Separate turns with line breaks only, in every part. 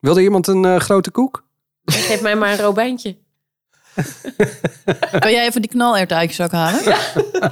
Wilde iemand een eh, grote koek?
Geef mij maar een robijntje.
Kan jij even die knalert uit je zak halen?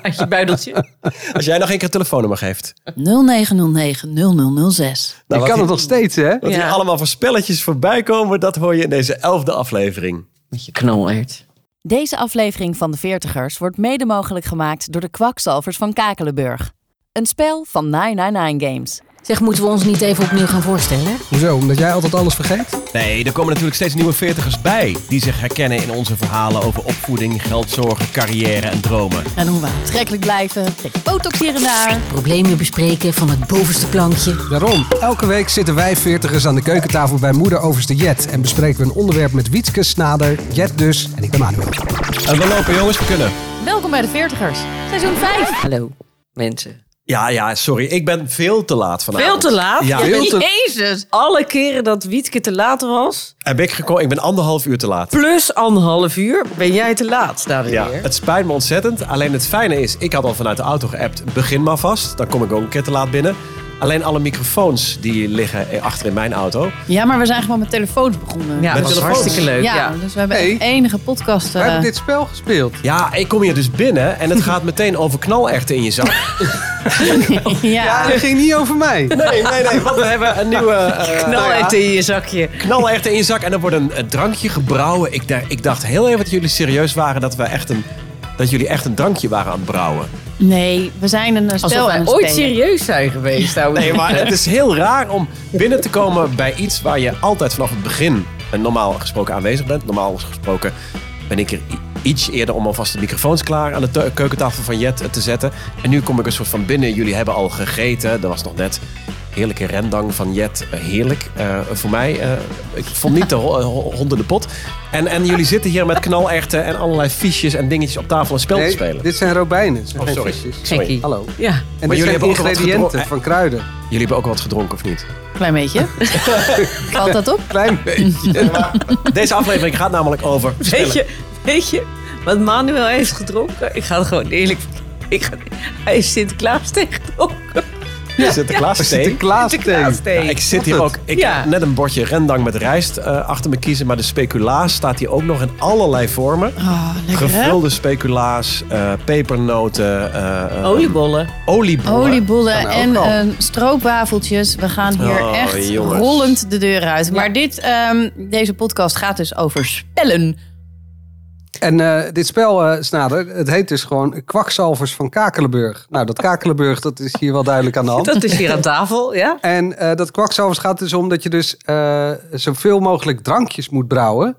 Uit je buideltje.
Als jij nog één keer het telefoonnummer geeft.
0909 0006.
Je
wat
kan
die-
het nog steeds, hè?
Wat hier
Ja.
allemaal voor spelletjes voorbij komen, dat hoor je in deze elfde aflevering.
Met je knolert.
Deze aflevering van De Veertigers wordt mede mogelijk gemaakt door de kwakzalvers van Kakelenburg. Een spel van 999 Games.
Zeg, moeten we ons niet even opnieuw gaan voorstellen?
Hoezo? Omdat jij altijd alles vergeet?
Nee, er komen natuurlijk steeds nieuwe veertigers bij. Die zich herkennen in onze verhalen over opvoeding, geldzorgen, carrière en dromen.
En hoe we aantrekkelijk blijven, tegen botox hier en daar.
Problemen bespreken van het bovenste plankje.
Daarom. Elke week zitten wij veertigers aan de keukentafel bij moeder overste Jet. En bespreken we een onderwerp met Wietske, Snader, Jet dus. En ik ben Manuel.
En Eh, we lopen jongens, we kunnen.
Welkom bij De Veertigers, seizoen 5.
Hallo, mensen.
Ja, ja, sorry. Ik ben veel te laat vandaag.
Veel te laat?
Ja,
Veel te-
Jezus. Alle keren dat Wietke te laat was,
heb ik gekomen. Ik ben anderhalf uur te laat.
plus anderhalf uur, ben jij te laat daarin
Ja,
weer.
het spijt me ontzettend. Alleen het fijne is, ik had al vanuit de auto geappt. Begin maar vast. Dan kom ik ook een keer te laat binnen. Alleen alle microfoons die liggen eh, achter in mijn auto.
Ja, maar we zijn gewoon met telefoons begonnen.
Ja, dat
Met
was
telefoons.
hartstikke leuk.
Ja,
Ja. Nou,
dus we hebben
Hey.
echt enige podcast.
We
eh,
hebben dit spel gespeeld.
Ja, ik kom hier dus binnen en het gaat meteen over knalerten in je zak.
Ja,
eh, ja.
dat ging niet over mij.
Nee, nee, nee, want we hebben een nieuwe eh,
Knalert in je zakje.
knalerten in je zak. En er wordt een, een drankje gebrouwen. Ik, da- ik dacht heel even dat jullie serieus waren dat, we echt een, dat jullie echt een drankje waren aan het brouwen.
Nee, we zijn een eh,
Alsof
spel aan
wij
het
ooit
spelen.
serieus zijn geweest. Nou,
Nee, maar het is heel raar om binnen te komen bij iets waar je altijd vanaf het begin eh, normaal gesproken aanwezig bent. Normaal gesproken ben ik er i- iets eerder om alvast de microfoons klaar aan de te- keukentafel van Jet eh, te zetten. En nu kom ik een soort van binnen. Jullie hebben al gegeten. Er was nog net heerlijke rendang van Jet. Eh, Heerlijk eh, voor mij. eh, ik vond niet de ho- eh, ho- honden de pot. En, en jullie zitten hier met knalerten en allerlei fiches en dingetjes op tafel een spel te
Nee,
spelen.
dit zijn robijnen. Dit zijn
Oh,
geen
sorry.
visjes.
Sorry.
Gekkie.
Hallo.
Ja.
En
jullie
dit zijn
hebben ook wat
ingrediënten
gedronken.
van kruiden.
Jullie hebben ook wat gedronken of niet?
Klein beetje. Valt dat op?
Klein beetje.
Deze aflevering gaat namelijk over
Weet je, weet je wat Manuel heeft gedronken? Ik ga het gewoon eerlijk ik ga, Hij is Sinterklaas gedronken.
Sinterklaas thee.
Sinterklaas
Sinterklaas
thee.
thee.
Ja, ik zit
Wat
hier
het?
ook. Ik
Ja.
heb net een bordje rendang met rijst eh, achter me kiezen. Maar de speculaas staat hier ook nog in allerlei vormen.
Ah,
Oh, lekker hè?
Gevulde speculaas, eh, pepernoten, eh, eh,
Oliebollen.
oliebollen.
Oliebollen
Kan ook
en
al.
eh, stroopwafeltjes. We gaan hier
Oh,
echt
jongens.
rollend de deur uit. Maar dit, ehm, deze podcast gaat dus over spellen.
En eh, dit spel, eh, Snader, het heet dus gewoon Kwakzalvers van Kakelenburg. Nou, dat Kakelenburg, dat is hier wel duidelijk aan de hand.
Dat is hier aan tafel, ja?
En eh, dat kwakzalvers gaat dus om dat je dus eh, zoveel mogelijk drankjes moet brouwen.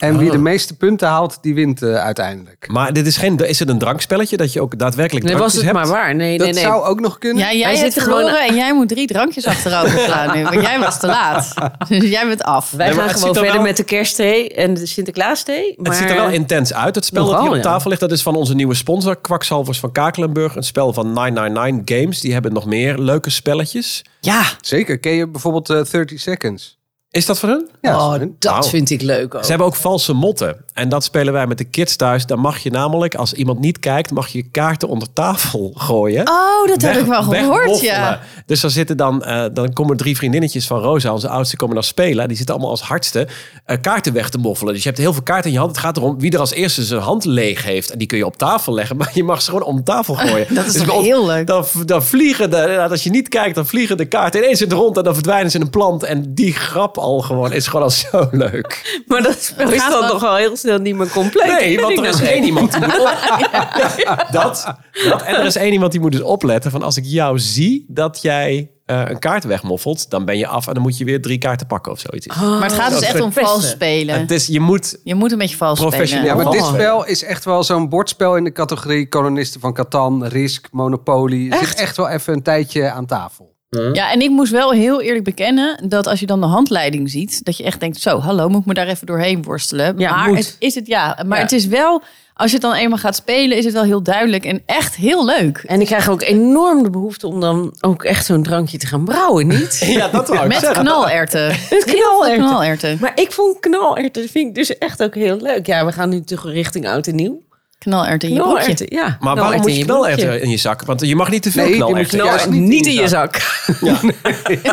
En wie
Oh.
de meeste punten haalt, die wint eh, uiteindelijk.
Maar dit is, geen, is het een drankspelletje dat je ook daadwerkelijk
Nee, was
drankjes
het
hebt?
maar waar. Nee,
Dat
nee, nee.
zou ook nog kunnen.
Ja, jij
Wij
zit
zitten gewoon-
verloren en jij moet drie drankjes achterover slaan nu. Want jij was te laat. Dus jij bent af.
Wij
Nee, maar
gaan
het
gewoon
ziet er
verder
wel-
met de kerstthee en de Sinterklaas thee. Maar...
Het ziet er wel intens uit. Het spel dat
Nogal,
hier op
ja.
tafel ligt, dat is van onze nieuwe sponsor, Kwakzalvers van Kakelenburg. Een spel van 999 Games. Die hebben nog meer leuke spelletjes.
Ja,
Zeker. Ken je bijvoorbeeld eh, 30 Seconds?
Is dat van hun?
Ja,
oh,
dat is
dat
Wauw.
vind ik leuk ook.
Ze hebben ook valse motten. En dat spelen wij met de kids thuis. Dan mag je namelijk, als iemand niet kijkt, mag je kaarten onder tafel gooien.
Oh, dat heb
Weg-
ik wel gehoord,
wegmoffelen.
ja.
Dus dan, zitten dan, eh, dan komen drie vriendinnetjes van Rosa, onze oudste, komen dan spelen. En Die zitten allemaal als hardste eh, kaarten weg te moffelen. Dus je hebt heel veel kaarten in je hand. Het gaat erom wie er als eerste zijn hand leeg heeft. En die kun je op tafel leggen, maar je mag ze gewoon om tafel gooien.
Dat is
Dus
toch
op-
heel leuk?
Dan, dan vliegen, de, nou, als je niet kijkt, dan vliegen de kaarten ineens in de rond. En dan verdwijnen ze in een plant. En die grap al gewoon is gewoon al zo leuk.
Maar dat spel is
Gaat
dan
wel-
toch al heel snel niet meer compleet.
Nee, want er is
dus
één iemand die moet op- dat, dat. En er is één iemand die moet dus opletten van als ik jou zie dat jij eh, een kaart wegmoffelt, dan ben je af en dan moet je weer drie kaarten pakken of zoiets.
Oh.
Maar het gaat dus
dat
echt
is
om
het beste.
vals spelen.
Het is, je moet,
Je moet een beetje vals spelen.
Professioneel.
Ja, maar dit
Oh.
spel is echt wel zo'n bordspel in de categorie kolonisten van Catan, Risk, Monopoly. Het Zit echt wel even een tijdje aan tafel.
Hm?
Ja, en ik moest wel heel eerlijk bekennen dat als je dan de handleiding ziet, dat je echt denkt: zo, hallo, moet ik me daar even doorheen worstelen?
Ja,
maar
moet.
het is het ja. Maar
Ja.
het is wel, als je het dan eenmaal gaat spelen, is het wel heel duidelijk en echt heel leuk.
En ik krijg ook enorm de behoefte om dan ook echt zo'n drankje te gaan brouwen, niet?
ja, dat wou ik
Met
zeggen.
knalerten.
Met knalerwten.
knalerten.
Maar ik vond knalerwten vind ik dus echt ook heel leuk. Ja, we gaan nu toch richting oud en nieuw.
Knalert in je broekje.
Knorrerwten, ja.
Maar
Knorrerwten
waarom moet
in
je
broekje.
knalerwten in je zak? Want je mag niet te veel
Nee, je moet
knalerwten.
knal-
Knorrerwten
Juist
niet in je zak.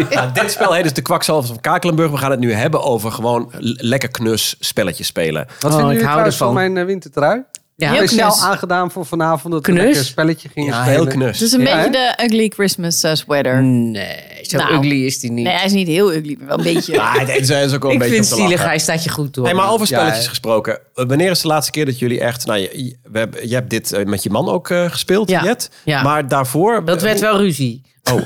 Nou, dit spel heet dus de kwakzalvers van Kakelenburg. We gaan het nu hebben over gewoon l- lekker knus spelletjes spelen.
Wat
Oh, ik
vinden jullie
hou
trouwens
ervan.
van mijn eh, wintertrui?
Ja, heel
Speciaal
knus.
aangedaan voor vanavond dat we
Knus?
lekker een spelletje gingen
Ja,
spelen.
heel
Het
knus.
Dus-
is een
Ja,
beetje de ugly Christmas eh, sweater.
Nee, zo
Nou.
ugly is die niet.
Nee, hij is niet heel ugly, maar wel een beetje.
Ah, het is- het is ook wel een
ik
beetje
vind
om te
zielig,
lachen.
hij staat je goed door.
Hey, maar over spelletjes
Ja.
gesproken. Eh, Wanneer is de laatste keer dat jullie echt... Nou, je, je- we hebben, je hebt dit eh, met je man ook eh, gespeeld,
Ja.
Jet.
Ja.
Maar daarvoor...
Dat werd wel ruzie.
Oh.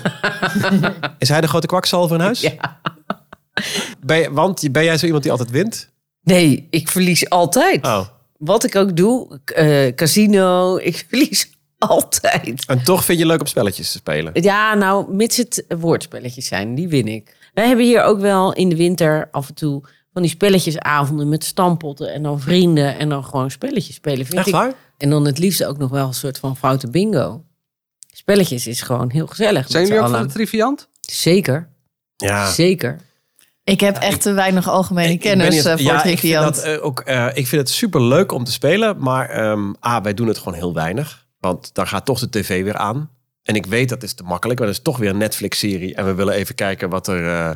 is hij de grote kwakzalver in huis?
Ja.
Ben je- want je- ben jij zo iemand die altijd wint?
Nee, ik verlies altijd.
Oh.
Wat ik ook doe, eh, casino, ik verlies altijd.
En toch vind je het leuk om spelletjes te spelen?
Ja, nou, mits het woordspelletjes zijn, die win ik. Wij hebben hier ook wel in de winter af en toe van die spelletjesavonden met stampotten en dan vrienden en dan gewoon spelletjes spelen. Vind
Echt
ik.
waar?
En dan het liefst ook nog wel een soort van foute bingo. Spelletjes is gewoon heel gezellig.
Zijn
met z'n
jullie ook van
allen.
de triviant?
Zeker,
Ja.
zeker.
Ik heb echt te weinig algemene
Ik- ik ben
kennis
niet-
eh, voor
ja,
het
ik vind
Triviant.
dat, eh, ook, eh, ik vind het super leuk om te spelen, maar ehm A, wij doen het gewoon heel weinig. Want dan gaat toch de tv weer aan. En ik weet dat is te makkelijk, maar dat is toch weer een Netflix-serie. En we willen even kijken wat er eh,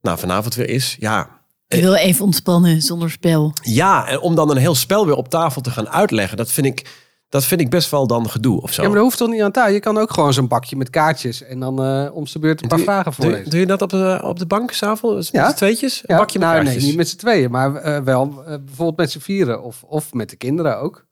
nou, vanavond weer is. Ja.
Ik wil even ontspannen zonder spel.
ja, en om dan een heel spel weer op tafel te gaan uitleggen, dat vind ik, dat vind ik best wel dan gedoe of zo.
Ja, maar dat hoeft toch niet aan taal? Je kan ook gewoon zo'n bakje met kaartjes en dan eh, om zijn beurt een paar
Doe-
vragen
doe, je-
voorlezen.
doe je dat op de, op de bank s'avonds?
Ja.
Ja. Tweetjes?
Ja,
een bakje met
nou, nee,
kaartjes?
niet met z'n tweeën, maar eh, wel eh, bijvoorbeeld met z'n vieren of, of met de kinderen ook.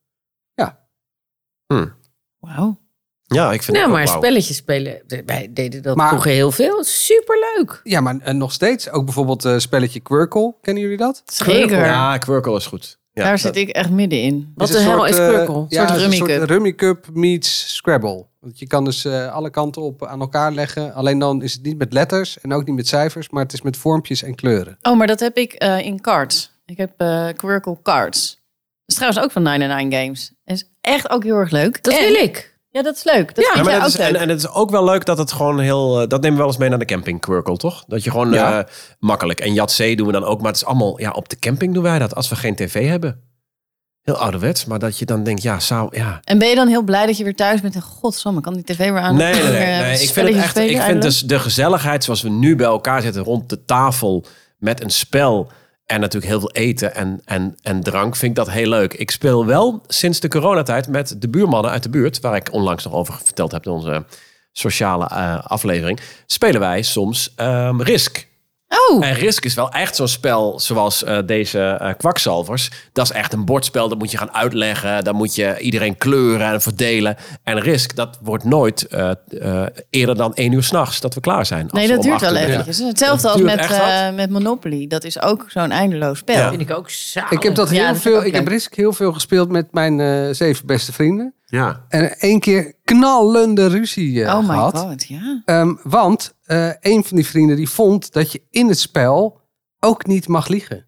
Wauw.
Ja, ik vind
nou,
het ook
maar
wauw.
spelletjes spelen, wij deden dat
Maar-
vroeger heel veel. Superleuk.
Ja, maar eh, nog steeds. Ook bijvoorbeeld eh, spelletje Quirkle. Kennen jullie dat?
Zeker.
Ja, Quirkle is goed. Ja,
Daar
dat-
zit ik echt middenin.
Wat
Is
de
een
hel
soort,
is
eh,
Quirkle?
Ja,
Een soort
is
Rummy
een
Cup.
soort Rummy Cup meets Scrabble. Want je kan dus eh, alle kanten op aan elkaar leggen. Alleen dan is het niet met letters en ook niet met cijfers, maar het is met vormpjes en kleuren.
Oh, maar dat heb ik eh, in cards. Ik heb eh Quirkle Cards. Dat is trouwens ook van 99 Games. Dat is echt ook heel erg leuk.
Dat
En-
wil ik.
Ja, dat is leuk. Dat
Ja,
vind
Ja, maar
jij
dat
ook
is,
leuk.
en, en het is ook wel leuk dat het gewoon heel... eh, dat nemen we wel eens mee naar de camping, Quirkle, toch? Dat je gewoon
Ja.
eh, makkelijk... En Jatzee doen we dan ook, maar het is allemaal... Ja, op de camping doen wij dat, als we geen tv hebben. Heel ouderwets, maar dat je dan denkt, ja, zou... Ja.
En ben je dan heel blij dat je weer thuis bent? En godsamme, kan die tv weer aan?
Nee, nee, nee.
Weer, eh,
nee. Ik vind, het
spelletjes
echt,
spelen
ik vind
eigenlijk?
dus de gezelligheid zoals we nu bij elkaar zitten... rond de tafel met een spel... En natuurlijk heel veel eten en, en, en drank vind ik dat heel leuk. Ik speel wel sinds de coronatijd met de buurmannen uit de buurt, waar ik onlangs nog over verteld heb in onze sociale eh, aflevering, spelen wij soms ehm, Risk.
Oh,
En Risk is wel echt zo'n spel zoals eh, deze eh, kwakzalvers. Dat is echt een bordspel, dat moet je gaan uitleggen. Dan moet je iedereen kleuren en verdelen. En Risk, dat wordt nooit eh, eh, eerder dan één uur s'nachts dat we klaar zijn. Als
nee,
we
dat
om
duurt wel
acht uur beginnen.
eventjes. Hetzelfde
Dat
als
duurt
met,
echt wat.
eh, met Monopoly. Dat is ook zo'n eindeloos spel. Oh
Ja.
Vind ik ook saai.
Ik heb dat
Ja,
heel
dat vind ik
veel.
ook
Ik heb
leuk.
Risk heel veel gespeeld met mijn eh, zeven beste vrienden.
Ja.
En één keer knallende ruzie eh,
oh my
gehad.
god, ja.
Ehm, want eh, een van die vrienden die vond dat je in het spel ook niet mag liegen.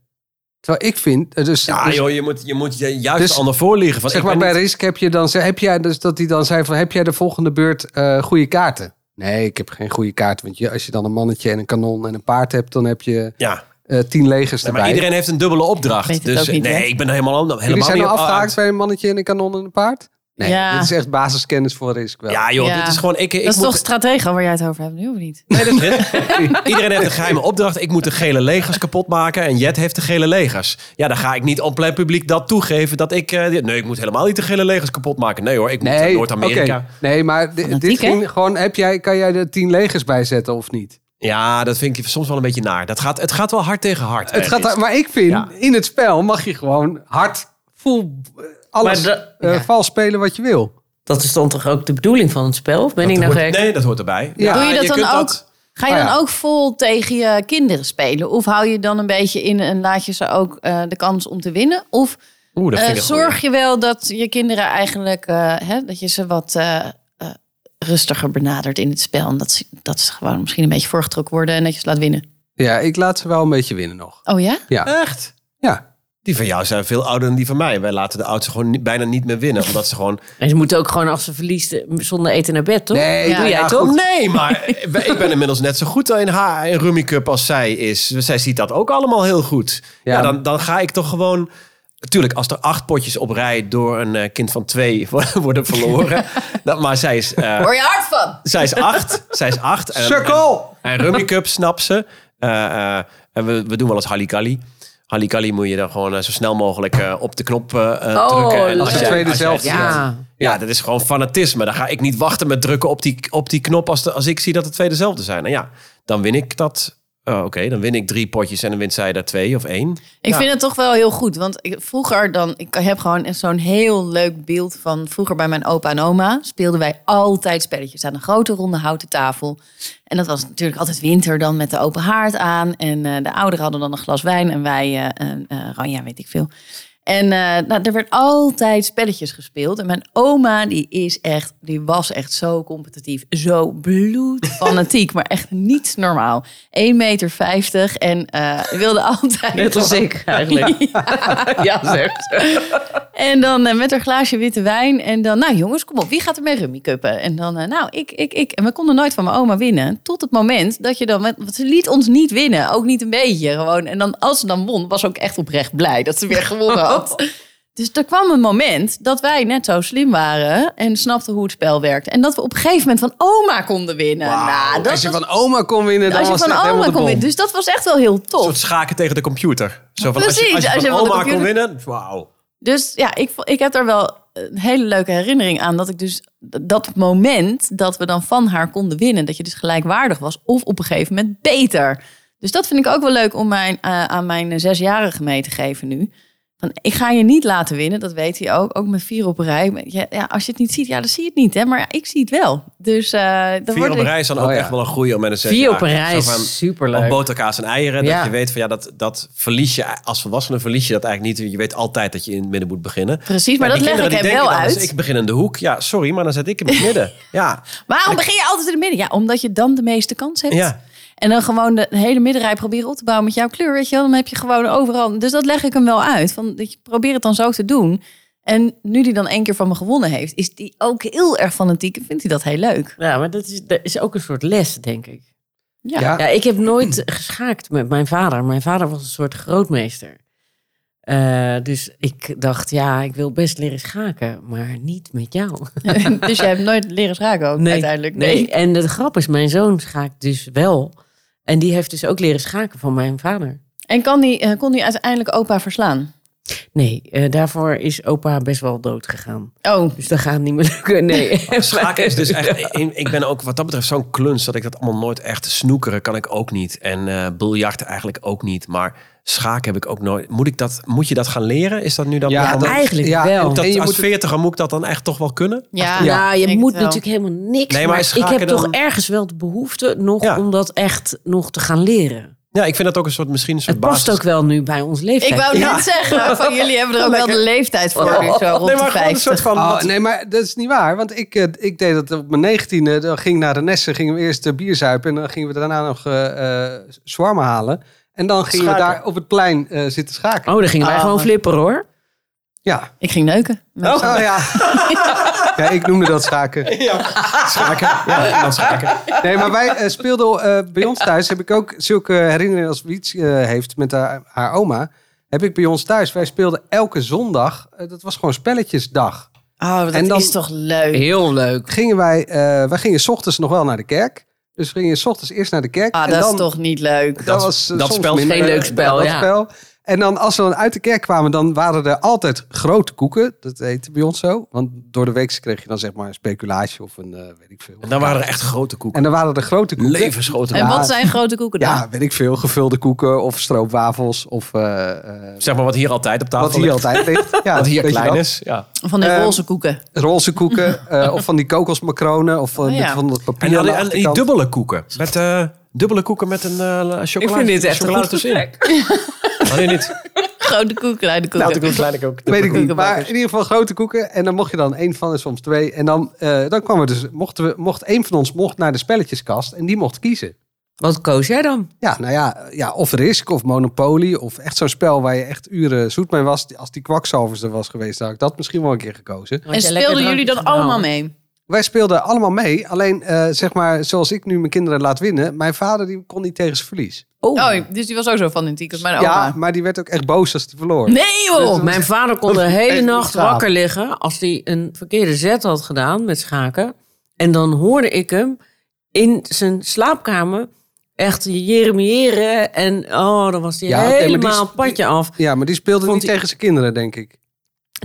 Terwijl ik vind, eh, dus,
Ja,
dus-
joh, je moet, je moet je juist
Dus-
ander voorliegen. Van,
zeg
ik
maar
ben
bij
niet-
Risk heb je dan, ze- heb jij dus dat hij dan zei van, heb jij de volgende beurt eh, goede kaarten? Nee, ik heb geen goede kaarten, want je, als je dan een mannetje en een kanon en een paard hebt, dan heb je
Ja,
eh, tien legers
Nee,
erbij.
maar iedereen heeft een dubbele
Weet
opdracht.
het ook
Dus
niet, hè?
nee, ik ben er helemaal, helemaal
Jullie zijn
niet
al
op-
afgehaakt bij een mannetje en een kanon en een paard? Nee,
Ja.
dit is echt basiskennis voor Risk wel.
Ja joh,
Ja.
dit is gewoon... Ik, ik
dat is
moet,
toch stratego waar jij het over hebt nu, of niet?
Nee, dat is het. Iedereen heeft een geheime opdracht. Ik moet de gele legers kapot maken en Jet heeft de gele legers. Ja, dan ga ik niet op plein publiek dat toegeven dat ik... eh, nee, ik moet helemaal niet de gele legers kapot maken. Nee hoor, ik moet eh,
Nee,
Noord-Amerika.
oké. nee, maar di-
Fanatiek,
dit
hè?
ging gewoon, heb jij, kan jij er tien legers bij zetten of niet?
Ja, dat vind ik soms wel een beetje naar. Dat gaat, het gaat wel hard tegen hard.
Het
eh,
gaat,
Risk.
maar ik vind,
Ja.
in het spel mag je gewoon hard, full, eh, alles
Maar de-
eh,
ja.
vals spelen wat je wil.
Dat is dan toch ook de bedoeling van het spel? Of ben ik
Dat
nou
hoort-
gek?
Nee, dat hoort erbij.
Ja.
Doe je dat dan
kunt
ook? Ga je
Oh
Ah, ja.
dan ook vol tegen je kinderen spelen? Of hou je dan een beetje in en laat je ze ook eh, de kans om te winnen? Of
Oeh, dat
eh,
vind ik een goeie.
zorg je wel dat je kinderen eigenlijk, eh, hè, dat je ze wat eh, eh, rustiger benadert in het spel. En dat ze, dat ze gewoon misschien een beetje voorgetrokken worden en dat je ze laat winnen.
Ja, ik laat ze wel een beetje winnen nog.
Oh ja?
Echt?
Ja.
Die van jou zijn veel ouder dan die van mij. Wij laten de oudste gewoon niet- bijna niet meer winnen. Omdat ze gewoon
En ze moeten ook gewoon als ze verliest eh, zonder eten naar bed, toch?
Nee,
Ja.
ja,
Doe jij
ja,
toch?
goed.
Nee, maar ik ben- ik ben inmiddels net zo goed in haar in Rummy Cup als zij is. Zij ziet dat ook allemaal heel goed. Ja,
Ja.
dan, dan ga ik toch gewoon Natuurlijk, als er acht potjes op rij door een eh, kind van twee worden verloren. dat, maar zij is, eh,
Hoor je hard van?
zij is acht. Zij is acht. En-
Circle!
En Rummy Cup snapt ze. Eh, eh, en we, we doen wel eens Halikali. Halikali moet je dan gewoon eh, zo snel mogelijk eh, op de knop eh, eh,
Oh,
drukken.
leuk. Als de
jij-
tweede
jij-
zelf.
Ja.
ja, dat is gewoon fanatisme. Dan ga ik niet wachten met drukken op die, op die knop als, de, als ik zie dat de twee dezelfde zijn. Nou ja, dan win ik dat. Oh, Oké, dan win ik drie potjes en dan wint zij daar twee of één.
Ik
Ja.
vind het toch wel heel goed. Want ik, vroeger dan, ik heb gewoon echt zo'n heel leuk beeld van vroeger bij mijn opa en oma. Speelden wij altijd spelletjes aan een grote ronde houten tafel. En dat was natuurlijk altijd winter dan met de open haard aan. En eh, de ouderen hadden dan een glas wijn en wij eh, een eh, ranja, weet ik veel. En eh, nou, er werd altijd spelletjes gespeeld. En mijn oma, die, is echt, die was echt zo competitief. Zo bloedfanatiek, maar echt niet normaal. 1,50 meter en eh, wilde altijd...
Net als ik eigenlijk. ja, zegt ze.
En dan eh, met haar glaasje witte wijn. En dan, nou jongens, kom op, wie gaat er mee rummy cuppen? En dan, eh, nou, ik, ik, ik. En we konden nooit van mijn oma winnen. Tot het moment dat je dan, want ze liet ons niet winnen. Ook niet een beetje, gewoon. En dan, als ze dan won, was ze ook echt oprecht blij dat ze weer gewonnen
Oh.
had. Dus er kwam een moment dat wij net zo slim waren en snapten hoe het spel werkte. En dat we op een gegeven moment van oma konden winnen. nou, dat
als je
was-
van oma kon winnen, dan
als je
was het
van
echt helemaal de
oma kon
bom.
winnen. Dus dat was echt wel heel
Een
tof.
soort schaken tegen de computer. Zo van, als je,
Precies,
als je,
als je
van
van de
oma kon
computer-
winnen, wauw.
Dus ja, ik, vo- ik heb daar wel een hele leuke herinnering aan. Dat ik dus d- dat moment dat we dan van haar konden winnen. Dat je dus gelijkwaardig was. Of op een gegeven moment beter. Dus dat vind ik ook wel leuk om mijn, eh, aan mijn eh, zesjarige mee te geven nu. Van, ik ga je niet laten winnen, dat weet hij ook. Ook met vier op een rij. Maar Ja, ja, als je het niet ziet, ja, dan zie je het niet. Hè? Maar ja, ik zie het wel. Dus eh dan
Vier
word
op een
ik...
rij is dan
Oh,
ook
ja.
echt wel een groei om met een zes
Vier
jaar.
op een rij
Zo
is
van-
superleuk.
Of boterkaas en eieren.
Ja.
Dat je weet van ja, dat, dat verlies je als volwassene verlies je dat eigenlijk niet. Je weet altijd dat je in het midden moet beginnen.
Precies, maar, dat
die
leg ik
kinderen
hem
die denken
wel
dan,
uit.
Als ik begin in de hoek, ja, sorry, maar dan zet ik hem in het midden. Ja,
Waarom begin je altijd in het midden? Ja, omdat je dan de meeste kans hebt.
Ja.
En dan gewoon de hele middenrij proberen op te bouwen met jouw kleur. Weet je wel, dan heb je gewoon overal. Dus dat leg ik hem wel uit. Van, dat je probeer het dan zo te doen. En nu die dan één keer van me gewonnen heeft, is die ook heel erg fanatiek. En vindt hij dat heel leuk.
Ja, maar dat is, dat is ook een soort les, denk ik.
Ja.
Ja, ik heb nooit geschaakt met mijn vader. Mijn vader was een soort grootmeester. Eh, dus ik dacht, ja, ik wil best leren schaken, maar niet met jou.
dus jij hebt nooit leren schaken ook uiteindelijk.
Nee. En de grap is, mijn zoon schaakt dus wel. En die heeft dus ook leren schaken van mijn vader.
En kan die, eh, kon hij uiteindelijk opa verslaan?
Nee, eh, daarvoor is opa best wel dood gegaan.
Oh,
Dus dat gaat niet meer lukken. Nee.
schaken is dus echt... in- Ik ben ook wat dat betreft zo'n kluns dat ik dat allemaal nooit echt... Snoekeren kan ik ook niet. En eh biljart eigenlijk ook niet. Maar schaken heb ik ook nooit... Moet, ik dat, moet je dat gaan leren? Is dat nu dan...
Ja,
dan-
dat-
Eigenlijk
ja,
wel.
en
dat,
je
als
moet het-
veertiger moet ik dat dan echt toch wel kunnen?
ja.
Ja, je
denk
moet
het wel.
natuurlijk helemaal niks.
Nee, maar
maar ik
schaken
heb toch
dan-
ergens wel de behoefte nog
Ja.
om dat echt nog te gaan leren.
Ja, ik vind dat ook een soort misschien een soort
Het past
basis.
ook wel nu bij ons leeftijd.
Ik wou
Ja.
net zeggen, van jullie hebben er ook wel de leeftijd voor. nu, zo rond
Nee,
de
maar gewoon een
50.
soort van...
Oh,
wat-
nee, maar dat is niet waar. Want ik, eh, ik deed dat op mijn negentiende. Dan ging ik naar de Nessen, gingen we eerst eh, bier zuipen. En dan gingen we daarna nog eh eh, shawarma halen. En dan gingen we
Schaken.
daar op het plein eh, zitten schaken.
Oh, dan gingen wij
Ah.
gewoon flipperen hoor.
Ja.
Ik ging neuken.
Oh, ja. ja, ik noemde dat schaken.
Schaken. Ja, dan schaken.
Nee, maar wij eh, speelden eh, bij ons thuis. Heb ik ook zulke herinneringen als Wiets eh, heeft met haar, haar oma. Heb ik bij ons thuis. Wij speelden elke zondag. eh, dat was gewoon spelletjesdag.
Oh, dat
En dan-
is toch leuk.
Heel leuk.
Gingen wij, eh, wij gingen 's ochtends nog wel naar de kerk. Dus we gingen 's ochtends eerst naar de kerk.
Ah,
en
dat
dan,
is toch niet leuk.
Dat,
Dat-
was eh,
dat
soms
spel is
minder,
geen leuk
eh,
spel,
dat
ja.
spel. En dan als we dan uit de kerk kwamen, dan waren er altijd grote koeken. Dat heette bij ons zo. Want door de week kreeg je dan zeg maar een speculaasje of een, eh, weet ik veel.
En dan waren er echt grote koeken.
En dan waren er grote koeken.
Levensgrote
En
Ja.
wat zijn grote koeken dan?
Ja, weet ik veel. Gevulde koeken of stroopwafels of eh, eh,
Zeg maar wat hier altijd op tafel
wat hier
ligt.
altijd ligt. Ja,
wat hier
weet je
klein
dat?
is. Ja.
Van die
ehm,
Eh,
roze koeken.
Roze koeken eh, of van die kokosmacronen of eh,
Oh, ja.
met van dat papier
En die,
aan de
hadden- en die
achterkant.
dubbele koeken. Met eh, dubbele koeken met een eh chocolade. chocolade tussenin. Oh, nee, niet.
Grote koeken, kleine koeken.
Laat ik ook kleine koek.
Weet ik niet, maar
koekenbakkers.
in ieder geval grote koeken. En dan mocht je dan één van en soms twee. En dan, eh, dan kwamen we dus, mochten we, mocht één van ons mocht naar de spelletjeskast en die mocht kiezen.
Wat koos jij dan?
Ja, nou ja, ja of Risk of Monopoly of echt zo'n spel waar je echt uren zoet mee was. Als die kwakzalvers er was geweest, dan had ik dat misschien wel een keer gekozen.
en speelden jullie dat allemaal mee?
Wij speelden allemaal mee. Alleen, eh, zeg maar, zoals ik nu mijn kinderen laat winnen. Mijn vader die kon niet tegen zijn verlies.
Oh,
Oh, dus die was ook zo fanatiek als mijn oma.
Ja, maar die werd ook echt boos als hij verloor.
Nee joh!
mijn vader kon de hele
Even
nacht
slapen.
wakker liggen als hij een verkeerde zet had gedaan met schaken. En dan hoorde ik hem in zijn slaapkamer echt jeremiëren. En oh, dan was hij
Ja, nee, maar die
helemaal
is-
padje af.
Ja, maar die speelde
Vond
niet
hij-
tegen zijn kinderen, denk ik.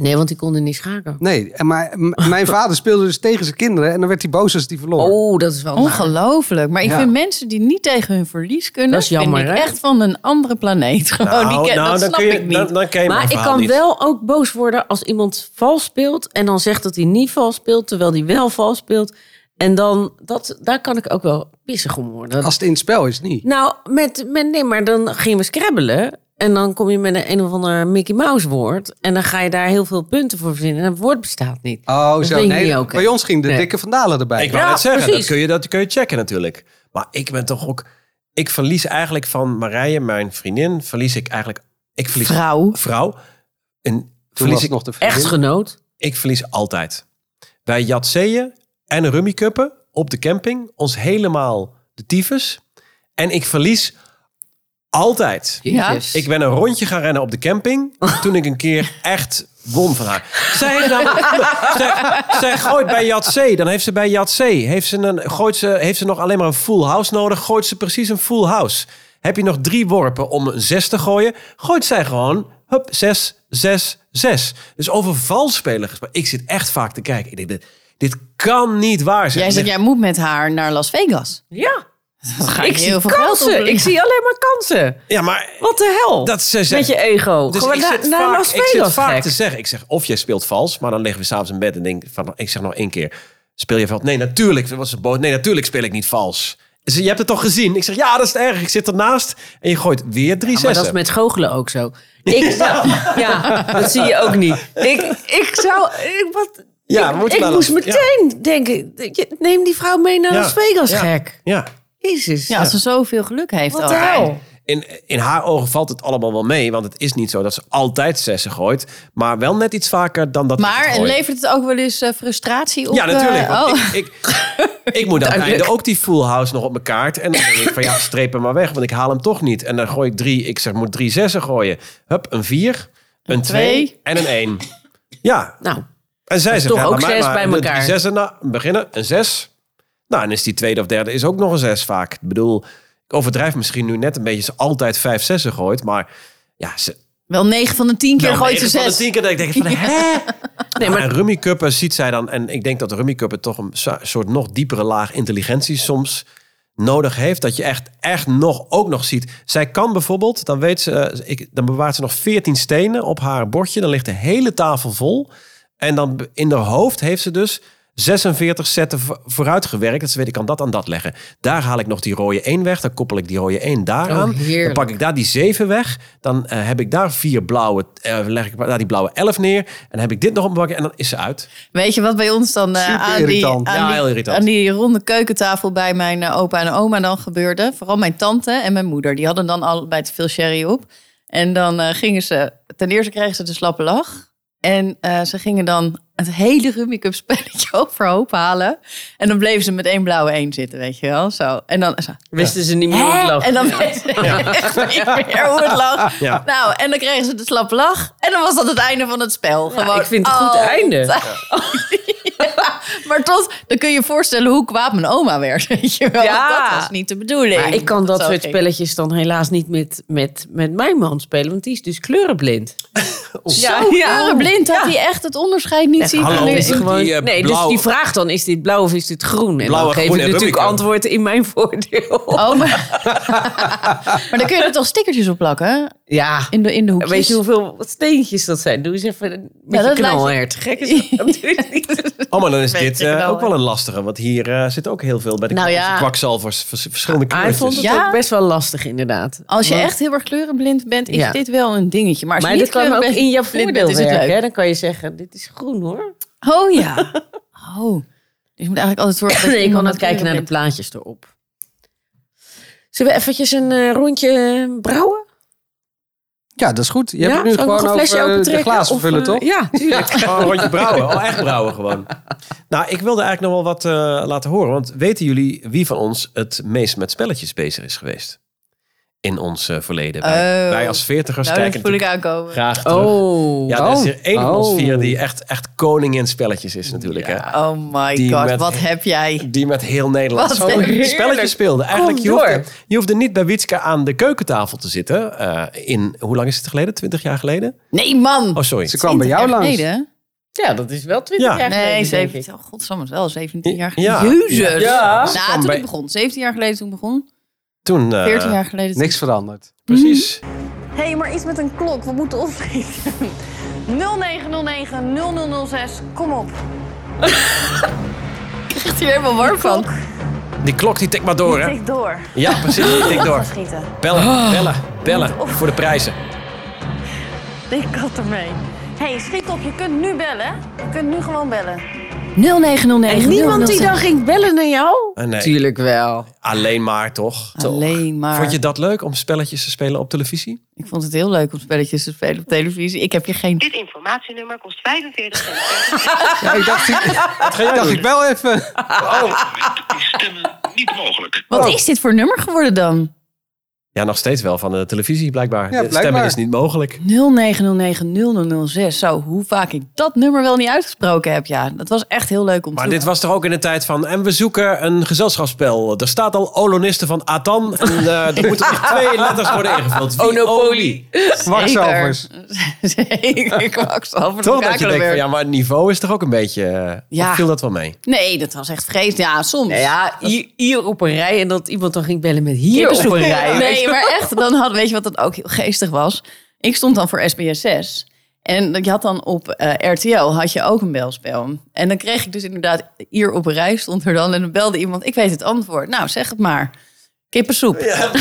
Nee, want die kon er niet schaken.
Nee, en maar m- mijn vader speelde dus tegen zijn kinderen. En dan werd hij boos als hij verloor.
Oh, dat is wel naar.
Ongelooflijk. Maar ik
Ja.
vind mensen die niet tegen hun verlies kunnen...
Dat is jammer,
vind ik
hè?
echt van een andere planeet. Gewoon, Oh, die ken- dat
Nou, dan
snap
kun je,
ik niet.
Dan, dan ken je mijn
Maar ik
verhaal
kan
niet.
wel ook boos worden als iemand vals speelt en dan zegt dat hij niet vals speelt, terwijl hij wel vals speelt. En dan, dat, daar kan ik ook wel pissig om worden.
Als het in het spel is, niet.
Nou, met, met, nee, maar dan gingen we scrabbelen. En dan kom je met een, een of ander Mickey Mouse woord. En dan ga je daar heel veel punten voor verzinnen. En het woord bestaat niet.
Oh,
Dat
zo.
vind ik niet
Nee,
oké.
bij ons ging de
Nee.
dikke vandalen erbij.
Ik wou
Ja,
net zeggen, dat
precies.
kun, je, dat kun je checken natuurlijk. Maar ik ben toch ook... Ik verlies eigenlijk van Marije, mijn vriendin, verlies ik eigenlijk... Ik verlies
Vrouw.
vrouw. En
Toen was
verlies
ik
ik,
nog de vriendin.
Echtgenoot.
ik verlies altijd. Wij jatseeën en rummikuppen op de camping. Ons helemaal de tyfus. En ik verlies altijd.
Jezus.
Ik ben een rondje gaan rennen op de camping. Toen ik een keer echt won van haar. Zij, heeft dan, zij, zij gooit bij Jatse. Dan heeft ze bij Jatse. Heeft ze, een, gooit ze, heeft ze nog alleen maar een full house nodig? Gooit ze precies een full house? Heb je nog drie worpen om een zes te gooien? Gooit zij gewoon. Hup, zes, zes, zes. Dus over valspelen gesproken. Ik zit echt vaak te kijken. Ik denk, dit, dit kan niet waar zijn.
Jij zegt, jij moet met haar naar Las Vegas.
Ja.
Dat ga
Ik
je heel
zie
veel geld
kansen.
opleveren.
Ik zie alleen maar kansen.
Ja, maar
Wat de hel?
Dat ze
Met
zegt-
je ego.
Dus
Gewoon
ik,
naar-
zit
naar
vaak,
Las
ik zit
Vegas,
vaak
nou gek.
te zeggen. Ik zeg of jij speelt vals, maar dan liggen we s'avonds in bed en denk van, ik zeg nog één keer, speel je vals? Nee, natuurlijk. Dat was een boot. Nee, natuurlijk speel ik niet vals. Ze- Je hebt het toch gezien? Ik zeg, ja, dat is het erg. Ik zit ernaast en je gooit weer drie
Ja, maar
zessen.
dat is met goochelen ook zo. Ik zou, ja, dat zie je ook niet. Ik, ik zou... Ik, wat,
Ja, we
ik,
moeten
ik
wel
moest
eens-
meteen denken... je- Neem die vrouw mee naar
Ja.
Las Vegas,
Ja.
gek.
Ja.
Jezus.
Ja, als ze zoveel geluk heeft. oh,
Wat
al.
de hel?
In, in haar ogen valt het allemaal wel mee, want het is niet zo dat ze altijd zessen gooit, maar wel net iets vaker dan dat ik het
Maar
gooi.
levert het ook wel eens eh, frustratie op?
Ja, natuurlijk.
eh,
want
oh.
ik, ik, ik moet aan het
Duidelijk.
einde ook die full house nog op mijn kaart. En dan denk ik van ja, streep hem maar weg, want ik haal hem toch niet. En dan gooi ik drie, ik zeg moet drie zessen gooien. Hup, een vier, een twee,
twee.
en een één. Ja,
Nou,
en zij zegt
toch
ja,
ook
laat mij
zes
maar
bij
de
elkaar.
Drie zessen, nou, beginnen, een zes. Nou, en is die tweede of derde is ook nog een zes vaak. Ik bedoel, ik overdrijf misschien nu net een beetje. Ze altijd vijf zessen gooit, maar ja, ze...
Wel 9 van de 10 keer
Nou,
gooit ze
negen van de
6.
tien keer dat ik denk van hè?
nee, maar
En Rummy Cuppen ziet zij dan, en ik denk dat Rummy Cuppen toch een so- soort nog diepere laag intelligentie soms nodig heeft. Dat je echt, echt nog, ook nog ziet. Zij kan bijvoorbeeld, dan weet ze, eh, ik, dan bewaart ze nog 14 stenen op haar bordje. Dan ligt de hele tafel vol. En dan be- in haar hoofd heeft ze dus 46 zetten vo- vooruit gewerkt. Dat ze weet, ik kan dat aan dat leggen. Daar haal ik nog die rode 1 weg. Dan koppel ik die rode 1 daaraan.
Oh, heerlijk.
dan pak ik daar die 7 weg. Dan eh, heb ik daar vier blauwe, eh, leg ik daar die blauwe 11 neer. En dan heb ik dit nog op mijn bakje en dan is ze uit.
Weet je wat bij ons dan eh,
Super
aan, die, aan,
irritant.
Ja, heel
die,
irritant.
aan die ronde keukentafel bij mijn eh, opa en oma dan gebeurde? Vooral mijn tante en mijn moeder. Die hadden dan allebei te veel sherry op. En dan eh, gingen ze... Ten eerste kregen ze de slappe lach. En eh, ze gingen dan het hele Rummy Cup spelletje overhoop halen. En dan bleven ze met één blauwe één zitten, weet je wel. Zo. En dan zo,
wisten ze niet meer hoe het
Hè?
lag.
En dan weet ze echt niet meer hoe het lag.
Ja.
Nou, en dan kregen ze de slappe lach. En dan was dat het einde van het spel. Oh, Gewoon
ik vind het goed
altijd.
einde.
Ja, Maar tot, dan kun je je voorstellen hoe kwaad mijn oma werd. Weet je wel?
Ja.
Want Dat was niet de bedoeling.
Maar ik kan dat
Zo
soort
ging-
spelletjes dan helaas niet met, met, met mijn man spelen, want die is dus kleurenblind.
Zo kleurenblind dat
Ja.
hij echt het onderscheid niet ziet.
hallo,
En nu-
is het-
Gewoon,
Die, eh,
nee,
blauw-
dus die vraagt dan, is dit blauw of is dit groen? En
Blauw en
dan geef
groen
ik
en
natuurlijk
Rubicon.
antwoord in mijn voordeel.
Oh, maar... maar dan kun je er toch stickertjes op plakken? hè?
Ja,
In de, in de hoekjes.
weet je hoeveel steentjes dat zijn? Doe eens even een met
dat
je
lijkt-
knalhert. Gek is dat natuurlijk niet.
Oh, maar dan is
Beetje
dit eh,
knallen.
ook wel een lastige. Want hier eh, zit ook heel veel bij de
Nou
kwak-
ja. Ah,
kwakzalvers. vers- verschillende
Hij
kleurtjes.
vond het
Ja.
ook best wel lastig inderdaad.
Als je
Want-
echt heel erg kleurenblind bent, is
Ja.
dit wel een dingetje. Maar als je
Maar
niet
dit kan ook
kleurenblind
in je
bent,
voordeel
is het leuk.
werken. hè? Dan kan je zeggen, dit is groen hoor.
Oh ja. Oh. Dus je moet eigenlijk altijd zorgen dat
Nee, ik
iemand
kan het
met
kijken naar de
kleuren
plaatjes erop. Zullen we eventjes een eh, rondje eh, brouwen?
bent.
Ja, dat is goed. Je
ja,
hebt het nu
zal ik nog
gewoon
een flesje
over eh, de
opentrekken?
glazen
Of,
vullen,
eh,
toch?
Ja, tuurlijk.
Oh, een rondje brouwen. Oh, echt brouwen gewoon. Nou, ik wilde eigenlijk nog wel wat eh, laten horen. Want weten jullie wie van ons het meest met spelletjes bezig is geweest? In ons eh, verleden. Wij,
Oh.
wij als veertigers
Nou, dat
kijken
voel ik
natuurlijk
aankomen.
graag terug.
Oh.
Ja, er is er één van ons
Oh.
vier die echt, echt koning in spelletjes is natuurlijk. Hè?
Oh my
Die
god,
met-
wat heb jij?
Die met heel
Wat
Nederland zo
heerlijk.
spelletjes speelde. Eigenlijk,
Kom
je hoefde,
door.
je hoefde niet bij Witske aan de keukentafel te zitten. eh, in, hoe lang is het geleden? Twintig jaar geleden?
Nee, man!
Oh, sorry.
Ze kwam bij
20
jou
jaar
langs.
geleden?
Ja, dat is wel 20
Ja.
jaar geleden,
Nee,
denk ik.
17. Oh, godsamme, het is wel 17 jaar
Ja.
geleden. Jezus!
Ja.
Nou, toen
bij-
ik begon. 17 jaar geleden toen ik begon.
Toen, eh,
14 jaar geleden. toen-
Niks veranderd.
Precies.
Hé, hey, maar iets met een klok. We moeten opschieten. 0909 0006. Kom op.
Ik krijg hier helemaal warm van.
Die klok die tikt maar door, hè?
Tik door.
Ja, precies. Die tikt door.
Schieten.
Bellen, bellen, bellen. Voor de prijzen.
Ik kat ermee. Hé, hey, schiet op. Je kunt nu bellen. Je kunt nu gewoon bellen.
0909.
En niemand die
006.
dan ging bellen naar jou?
Ah, nee.
Tuurlijk wel.
Alleen maar, toch?
Alleen maar.
Vond je dat leuk om spelletjes te spelen op televisie?
Ik vond het heel leuk om spelletjes te spelen op televisie. Ik heb je geen...
Dit informatienummer kost 45 cent.
Ja, ik dacht, ik,
Wat ga jij
dacht ik wel even.
is stemmen niet mogelijk.
Wat is dit voor nummer geworden dan?
Ja, nog steeds wel van de televisie, blijkbaar.
Ja,
De Stemmen
blijkbaar.
is niet mogelijk.
0909-0006. Zo, hoe vaak ik dat nummer wel niet uitgesproken heb. Ja, dat was echt heel leuk om te
Maar dit was toch ook in de tijd van... En we zoeken een gezelschapsspel. Er staat al Olonisten van Atan. En eh, er moeten nog twee letters worden ingevuld.
Onopoly.
Kwakzalvers.
Zeker, kwakzalvers.
Toch dat je
Kakelenburg.
denkt van, ja, maar het niveau is toch ook een beetje... eh,
Ja.
of viel dat wel mee?
Nee, dat was echt vreselijk. Ja, soms.
Nou ja, hier, hier op een rij en dat iemand dan ging bellen met hier
Kippensoep.
op een rij. weet
Nee,
je wel.
maar echt, dan had, weet je wat dat ook heel geestig was? Ik stond dan voor SBS 6. En je had dan op eh, RTL had je ook een belspel. En dan kreeg ik dus inderdaad, hier op een rij stond er dan... en dan belde iemand, ik weet het antwoord. Nou, zeg het maar. Kippensoep. Ja,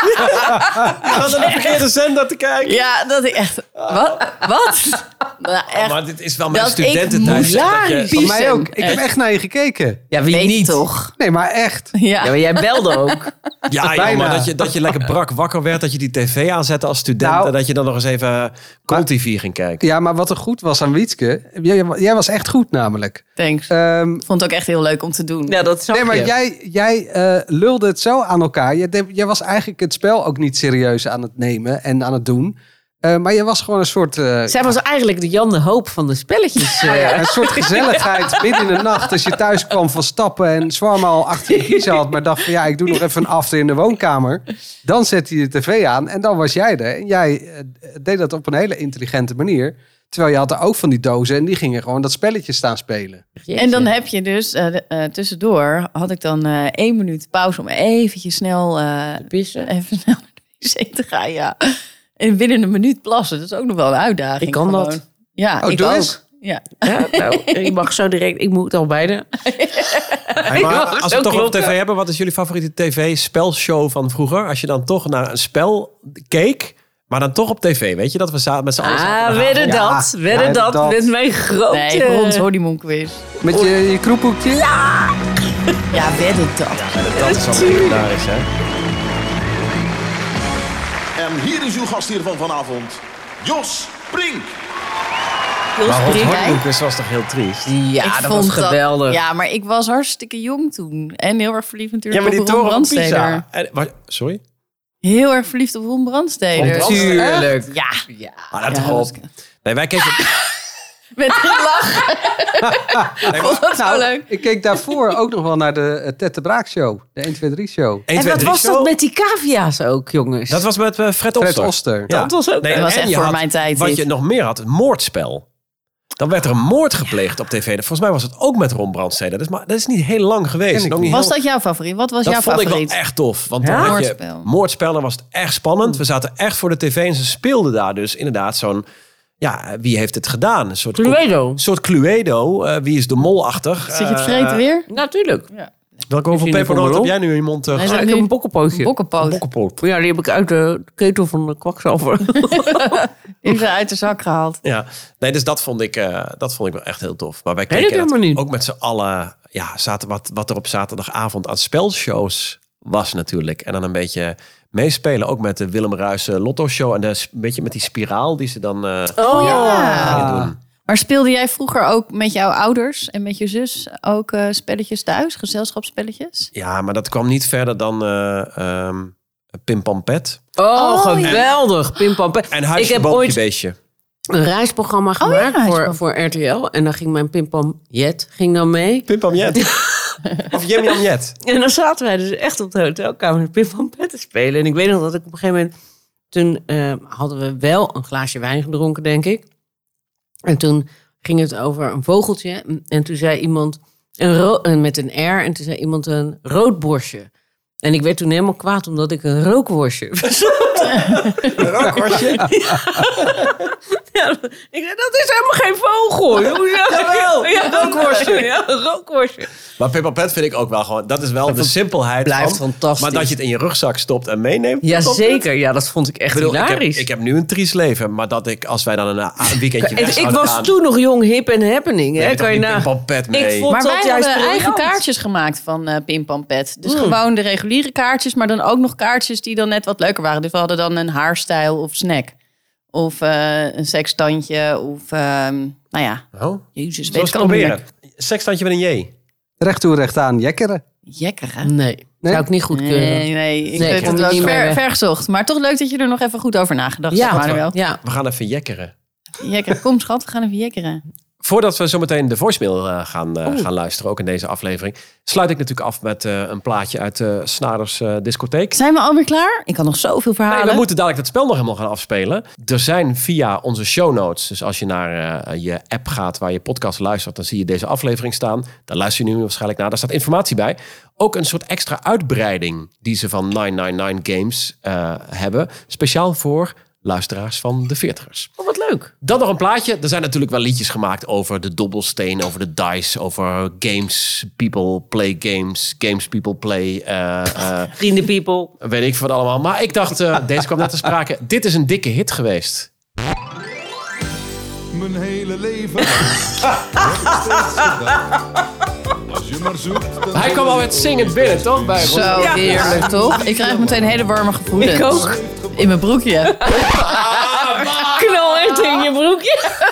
Gaat er een verkeerde zender te kijken?
dat ik echt... Wat? Wat? Nou, echt.
Maar dit is wel mijn
Dat ik
studententijd.
moest-
zeg,
Ja,
dat je-
Van mij
Piesen.
ook. Ik heb
Echt.
echt naar je gekeken.
Ja, wie
Weet
niet?
toch?
Nee, maar echt.
Ja.
Ja, maar jij belde ook.
Ja, joh,
Bijna.
maar dat je, dat je lekker brak wakker werd, dat je die tv aanzette als student
Nou.
en dat je dan nog eens even Cool TV ging kijken.
Ja, maar wat er goed was aan Wietske. Jij, jij was echt goed namelijk.
Thanks.
Ehm,
Vond het ook echt heel leuk om te doen.
Ja, dat snap
nee, maar
je.
jij, jij eh, lulde het zo aan elkaar. Jij, deed- jij was eigenlijk het spel ook niet serieus aan het nemen en aan het doen. Eh, maar je was gewoon een soort, eh,
Zij was eigenlijk de Jan de Hoop van de spelletjes. eh.
een soort gezelligheid midden in de nacht. Als je thuis kwam van stappen en zwaar al achter je kiezen had. Maar dacht van ja, ik doe nog even een after in de woonkamer. Dan zette je de tv aan en dan was jij er. En jij eh, deed dat op een hele intelligente manier. Terwijl je had er ook van die dozen en die gingen gewoon dat spelletje staan spelen.
Jeetje.
En dan heb je dus, eh, de- eh, tussendoor had ik dan eh, één minuut pauze om eventjes snel eh,
pissen.
even snel naar de wc te gaan, ja. En binnen een minuut plassen, dat is ook nog wel een uitdaging.
Ik kan
gewoon.
dat.
Ja,
Oh,
ik
doe
ook.
eens.
Ja.
Ja, nou, je mag zo direct. Ik moet al beide.
Hey, maar
Ja,
als we het
zo
toch
klopt,
over tv
ja.
hebben, wat is jullie favoriete tv-spelshow van vroeger? Als je dan toch naar een spel keek, maar dan toch op tv. Weet je dat we za- met z'n allen zaten?
Ah, wedden
Ja,
dat. Wedden
ja,
dat,
dat.
met mijn grote...
Nee, voor ons honeymoon quiz.
Met je, je kroephoekje?
Ja, wedden dat.
Dat is wel legendarisch, hè?
En hier is uw gastheer van vanavond, Jos Brink.
Heel
Maar Hot
spring, hè?
Honeymoon Quiz was toch heel triest?
Ja,
Ik
dat was
vond
geweldig.
ja, maar ik was hartstikke jong toen. En heel erg verliefd
Ja,
natuurlijk
maar die
op Ron
toren van
Brandsteder.
Pisa. En- wa- Sorry?
Heel erg verliefd op Ron Brandsteder.
Op Ron?
Tuurlijk.
Ja,
Ah, let
Ja,
toch
dat
op. Nee, wij keken...
met een lach.
Nee,
Vond dat zo
Nou,
leuk.
Ik keek daarvoor ook nog wel naar de eh, Ted de Braak show. De 1, 2, 3 show.
1,
En
2,
wat
3
was
show.
dat met die cavia's ook, jongens?
Dat was met eh, Fred
Fred
Oster.
Oster.
Dat was ook-
Dat was
en
echt
je
voor
had-
mijn tijd,
Wat
dit.
je nog meer had, het moordspel. Dan werd er een moord gepleegd op tv. Volgens mij was het ook met Ron Brandstede. Dat is, maar, dat is niet heel lang
Ken
geweest.
ik
Ook niet
Was
heel-
dat jouw favoriet? Wat was
dat
jouw
vond ik
favoriet?
wel echt tof. Want dan
Ja?
had je-
Moordspel.
moordspel, dan was het echt spannend. We zaten echt voor de tv en ze speelden daar dus inderdaad zo'n... Ja, wie heeft het gedaan? Een soort
Cluedo.
Een soort Cluedo. Eh, wie is de molachtig?
Zit je het
Eh,
vreten weer?
Natuurlijk.
Welke hoeveel
Is hij nu
pepernoot heb
voor
jij nu in je mond? eh,
Hij
gehad?
zat
ik
nu
heb een
een
bokkenpootje.
bokkenpoot.
Bokkenpoot.
ja, die heb ik uit de ketel van de kwakzalver.
Die heeft ze uit de zak gehaald.
Ja, nee, dus dat vond ik, eh, dat vond ik wel echt heel tof. Maar wij
Nee,
keken
dat
dat
helemaal niet.
ook met z'n allen. Ja, zaten wat, wat er op zaterdagavond aan spelshows was natuurlijk. En dan een beetje meespelen. Ook met de Willem Ruijs eh, Lotto Show. En dat is een beetje met die spiraal die ze dan eh,
Oh
ja.
gaan doen.
Maar speelde jij vroeger ook met jouw ouders en met je zus ook eh, spelletjes thuis, gezelschapsspelletjes?
Ja, maar dat kwam niet verder dan eh ehm Pim Pam Pet.
Oh,
Oh,
geweldig. Pim, pam, pam.
En
ik
Huisje
heb
Boompje
ooit
Beestje.
een reisprogramma
ja,
gemaakt voor,
reisprogramma.
voor RTL. En dan ging mijn pimpam Jet ging dan mee.
Pim Pam Jet. of Jim Jam Jet.
En dan zaten wij dus echt op de hotelkamer met Pimpam Pet te spelen. En ik weet nog dat ik op een gegeven moment... Toen eh, hadden we wel een glaasje wijn gedronken, denk ik. En toen ging het over een vogeltje. En toen zei iemand... Een ro- eh, met een R. En toen zei iemand een roodborstje. En ik werd toen helemaal kwaad omdat ik een rookworstje
Rookworstje.
Ja, ik zei, dat is helemaal geen vogel. Jawel,
Jawel,
ja, rookworstje. Ja, een rookworstje.
Maar Pim Pam Pet vind ik ook wel gewoon... Dat is wel de simpelheid
blijft
van,
fantastisch.
Maar dat je het in je rugzak stopt en meeneemt. dat is wel
Jazeker, ja, dat vond ik echt
Ik bedoel, ik, heb,
hilarisch.
ik heb nu een triest leven, maar dat ik als wij dan een, eh, een weekendje
En
weg
ik
zouden
was
gaan,
toen nog jong, hip en happening.
neem
Hè?
je toch
Kan je
niet
na...
Pim Pam Pet mee.
Ik vond-
Maar
dat
wij
juist
hebben eigen
briljant.
kaartjes gemaakt van eh Pim Pam Pet. Dus gewoon de reguliere kaartjes, maar dan ook nog kaartjes die dan net wat leuker waren. Dus we hadden dan een haarstijl of snack. Of eh, een sekstandje. Of, ehm, nou ja,
Oh,
jezus,
zullen we
weet
eens
ik allemaal niet
proberen? Sekstandje met een J.
Recht toe, recht aan, jekkeren.
meer. Jekker, hè?
Nee, zou ik niet goedkeuren.
Nee, nee, ik
Nee,
weet
kom
het
ik
wel
niet meer
ver,
weg.
vergezocht. Maar toch leuk dat je er nog even goed over nagedacht
Ja,
hebt, Manuel.
ja.
We gaan even jekkeren.
Jekker, kom schat, we gaan even jekkeren.
Voordat we zometeen de voicemail eh, gaan, eh, gaan luisteren, ook in deze aflevering, sluit ik natuurlijk af met eh, een plaatje uit eh Snaders eh, discotheek.
Zijn we alweer klaar? Ik kan nog zoveel verhalen.
Nee, we moeten dadelijk dat spel nog helemaal gaan afspelen. Er zijn via onze show notes, dus als je naar eh, je app gaat waar je podcast luistert, dan zie je deze aflevering staan. Daar luister je nu waarschijnlijk naar. Daar staat informatie bij. Ook een soort extra uitbreiding die ze van 999 Games eh, hebben. Speciaal voor luisteraars van de 40ers.
Oh, wat leuk.
Dan nog een plaatje. Er zijn natuurlijk wel liedjes gemaakt over de dobbelsteen, over de dice, over games people play games, games people play. eh, eh,
Vrienden people.
Weet ik van allemaal. Maar ik dacht, eh, deze kwam net te sprake. Dit is een dikke hit geweest.
Mijn hele leven. heb ik steeds gedaan. Als je maar zoekt. dan
Hij kwam al met zingend binnen, toch? Bij Ron?
Zo heerlijk, toch? Ik krijg meteen hele warme gevoelens.
Ik ook.
In mijn broekje.
Knal echt in je broekje.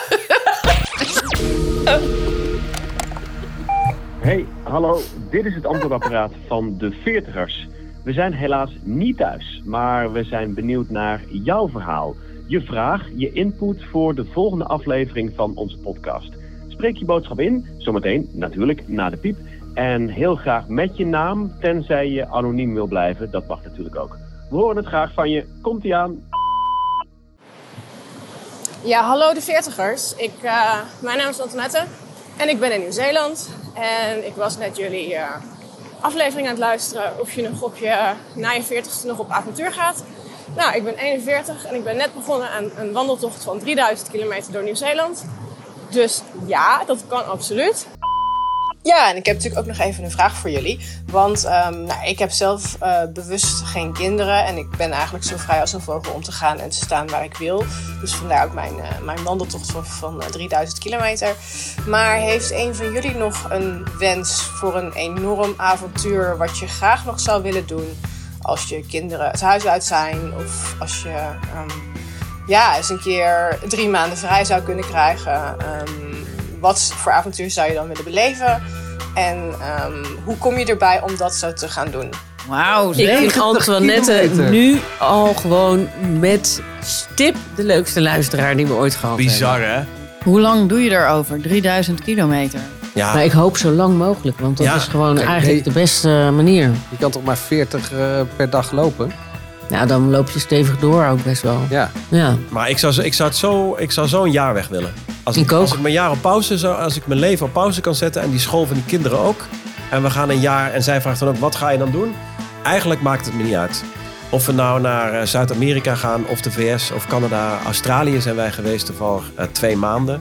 Hey, hallo. Dit is het antwoordapparaat van de 40ers. We zijn helaas niet thuis, maar we zijn benieuwd naar jouw verhaal. Je vraag, je input voor de volgende aflevering van onze podcast. Spreek je boodschap in, zometeen natuurlijk na de piep. En heel graag met je naam, tenzij je anoniem wil blijven. Dat mag natuurlijk ook. We horen het graag van je. Komt-ie aan.
Ja, hallo de veertigers. Ik, eh, mijn naam is Antoinette en ik ben in Nieuw-Zeeland. En ik was net jullie eh, aflevering aan het luisteren of je nog op je, na je veertigste nog op avontuur gaat. Nou, ik ben 41 en ik ben net begonnen aan een wandeltocht van 3000 kilometer door Nieuw-Zeeland. Dus ja, dat kan absoluut. Ja, en ik heb natuurlijk ook nog even een vraag voor jullie. Want ehm, nou, ik heb zelf eh, bewust geen kinderen. En ik ben eigenlijk zo vrij als een vogel om te gaan en te staan waar ik wil. Dus vandaar ook mijn, eh, mijn wandeltocht van, van eh, 3000 kilometer. Maar heeft een van jullie nog een wens voor een enorm avontuur... wat je graag nog zou willen doen als je kinderen het huis uit zijn... of als je ehm, ja, eens een keer drie maanden vrij zou kunnen krijgen. Ehm, wat voor avontuur zou je dan willen beleven? En ehm, hoe kom je erbij om dat zo te gaan doen?
Wauw,
Ik vind Antoinette
kilometer.
eh, nu al gewoon met stip de leukste luisteraar die we ooit gehad hebben.
Bizar, hè?
Hoe lang doe je daarover? 3000 kilometer.
Ja.
Maar ik hoop zo lang mogelijk, want dat
Ja.
is gewoon
Kijk,
eigenlijk de
nee.
beste manier.
Je kan toch maar 40 eh, per dag lopen?
Nou, dan loop je stevig door ook best wel.
Ja.
Ja.
Maar ik zou, zo- ik zou, het zo, ik zou zo een jaar weg willen. Als ik,
Ik ook.
Als ik mijn jaar op pauze zou, als ik mijn leven op pauze kan zetten en die school van die kinderen ook. En we gaan een jaar en zij vraagt dan ook, wat ga je dan doen? Eigenlijk maakt het me niet uit. Of we nou naar eh, Zuid-Amerika gaan, of de VS, of Canada. Australië zijn wij geweest toevallig eh, twee maanden.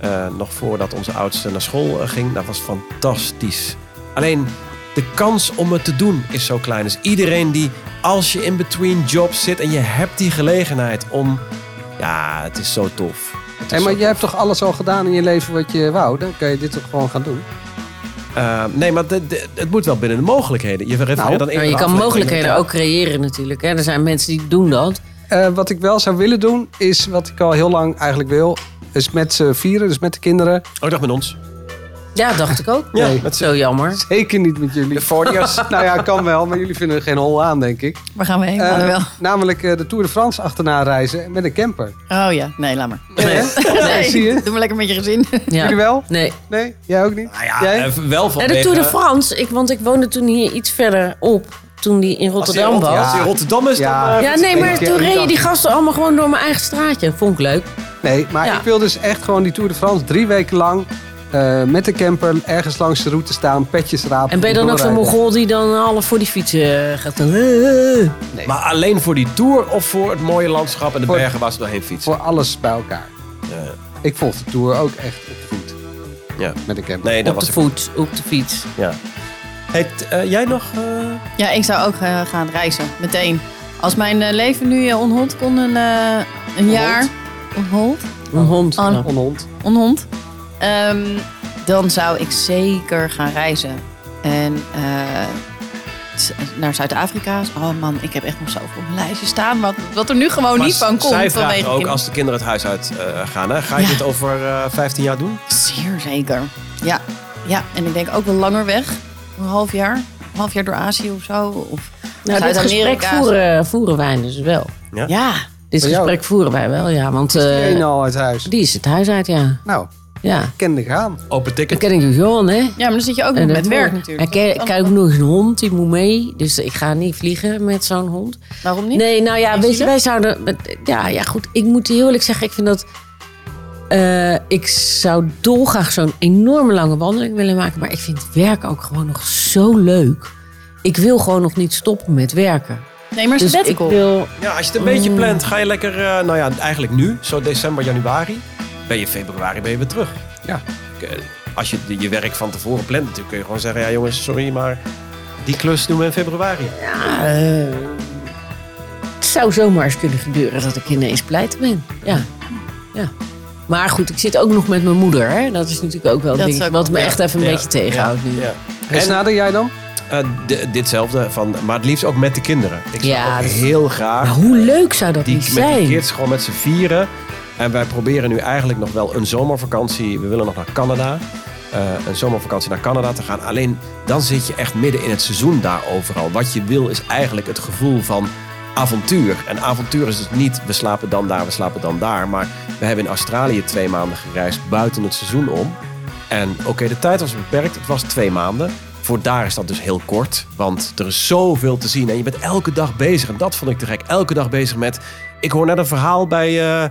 Eh, nog voordat onze oudste naar school eh, ging. Dat was fantastisch. Alleen de kans om het te doen is zo klein. Dus iedereen die, als je in between jobs zit en je hebt die gelegenheid om... Ja, het is zo tof. Het is
Hé, maar
zo
jij hebt toch alles al gedaan in je leven wat je wou? Dan kan je dit toch gewoon gaan doen?
Eh, nee, maar de- de- het moet wel binnen de mogelijkheden. Je, refereert aan
Nou,
eerdere
je kan
afleveringen.
mogelijkheden ook creëren natuurlijk. Hè. Er zijn mensen die doen dat.
Eh, wat ik wel zou willen doen, is wat ik al heel lang eigenlijk wil, is met z'n vieren, dus met de kinderen.
Oh, dag met ons.
Ja, dacht ik ook.
Ja,
dat is zo jammer.
Zeker niet met jullie. De
Fordiers.
nou ja, kan wel, maar jullie vinden er geen hol aan, denk ik.
Waar gaan we heen,
Eh,
Manuel?
namelijk eh, de Tour de France achterna reizen met een camper.
Oh ja, nee, laat maar.
Nee,
Nee,
zie je?
Doe maar lekker met je gezin.
Jullie wel?
Nee.
Nee? Jij ook niet?
Ja,
Jij?
eh, wel van
Ja, de Tour de France, ik, want ik woonde toen hier iets verder op. Toen die in Rotterdam
Als die in Rot-
was.
als die in Rotterdam is,
Ja.
dan... eh,
Ja, nee, maar
Ik-
toen
ik
reden
dacht-
die gasten allemaal gewoon door mijn eigen straatje. Vond ik leuk.
Nee, maar
Ja.
ik wil dus echt gewoon die Tour de France drie weken lang eh, met de camper ergens langs de route staan, petjes rapen.
En ben je dan ook zo'n
doorrijden.
mogol die dan half voor die fiets eh, gaat? Dan, eh, eh.
Maar alleen voor die tour of voor het mooie landschap en de
Voor-
bergen waar ze doorheen fietsen?
Voor alles bij elkaar.
Ja.
Ik volg de Tour ook echt op de voet
Ja.
met de camper.
Nee, dat
Op
was
de
ik.
voet, op de fiets.
Ja. Hey, t- eh, jij nog? eh,
Ja, ik zou ook eh, gaan reizen, meteen. Als mijn eh, leven nu eh, onhold kon, een, eh, een jaar... Onhold?
Een hond.
Aan-
ja.
Onhond.
onhond. Ehm, dan zou ik zeker gaan reizen. En eh, s- naar Zuid-Afrika. Oh man, ik heb echt nog zoveel op mijn lijstje staan. Wat, wat er nu gewoon
Oh,
maar
niet van komt. vanwege
Zij vraagt ook
kinderen.
als de kinderen het huis uit eh, gaan. Hè? Ga je
Ja.
dit over eh, 15 jaar doen?
Zeer zeker. Ja. ja, en ik denk ook wel langer weg. Een half jaar. Een half jaar door Azië of zo. Of
Nou, dit gesprek
Zuid-Amerika.
voeren, voeren wij dus wel.
Ja,
Dit
Bij jou?
gesprek voeren wij wel, ja. Want eh,
Eén al uit huis.
die is het huis uit, ja.
Nou,
Ja.
kende ik aan.
Open
Dan
ticket.
ken ik de Johan, hè.
ja, maar dan zit je ook
En dat
nog met
moet.
werk natuurlijk. Oh,
En ik, ik heb ook nog een hond, die moet mee. Dus ik ga niet vliegen met zo'n hond.
Waarom niet?
Nee, nou ja,
Niet
weet je,
zielig?
wij zouden... eh, Ja, ja, goed. Ik moet heel eerlijk zeggen, ik vind dat... eh, ik zou dolgraag zo'n enorme lange wandeling willen maken. Maar ik vind werk ook gewoon nog zo leuk. Ik wil gewoon nog niet stoppen met werken.
Nee, maar
Dus ik
sabbatical.
wil...
Ja, als je het een beetje plant, ga je lekker... eh, nou ja, eigenlijk nu, zo december, januari. Ben je februari ben je weer terug.
Ja.
Eh, Als je de- je werk van tevoren plant, natuurlijk kun je gewoon zeggen... Ja jongens, sorry, maar die klus doen we in februari.
Ja, eh, het zou zomaar eens kunnen gebeuren dat ik ineens pleit ben. Ja. ja. Maar goed, ik zit ook nog met mijn moeder. Hè? Dat is natuurlijk ook wel
Dat
een
is
ding
ook-
wat me
ja.
echt even een
Ja,
beetje tegenhoudt nu.
Ja.
En
En-
Snader, jij dan?
Eh, d- ditzelfde, van, maar het liefst ook met de kinderen. Ik zou
Ja,
ook
dat is-
heel graag...
Maar hoe leuk zou dat
die,
niet
met die
zijn?
kids gewoon met z'n vieren. En wij proberen nu eigenlijk nog wel een zomervakantie. We willen nog naar Canada. Eh, een zomervakantie naar Canada te gaan. Alleen dan zit je echt midden in het seizoen daar overal. Wat je wil is eigenlijk het gevoel van avontuur. En avontuur is dus niet we slapen dan daar, we slapen dan daar. Maar we hebben in Australië twee maanden gereisd buiten het seizoen om. En oké, de tijd was beperkt. Het was twee maanden. Voor daar is dat dus heel kort. Want er is zoveel te zien. En je bent elke dag bezig. En dat vond ik te gek. Elke dag bezig met... Ik hoor net een verhaal bij... eh,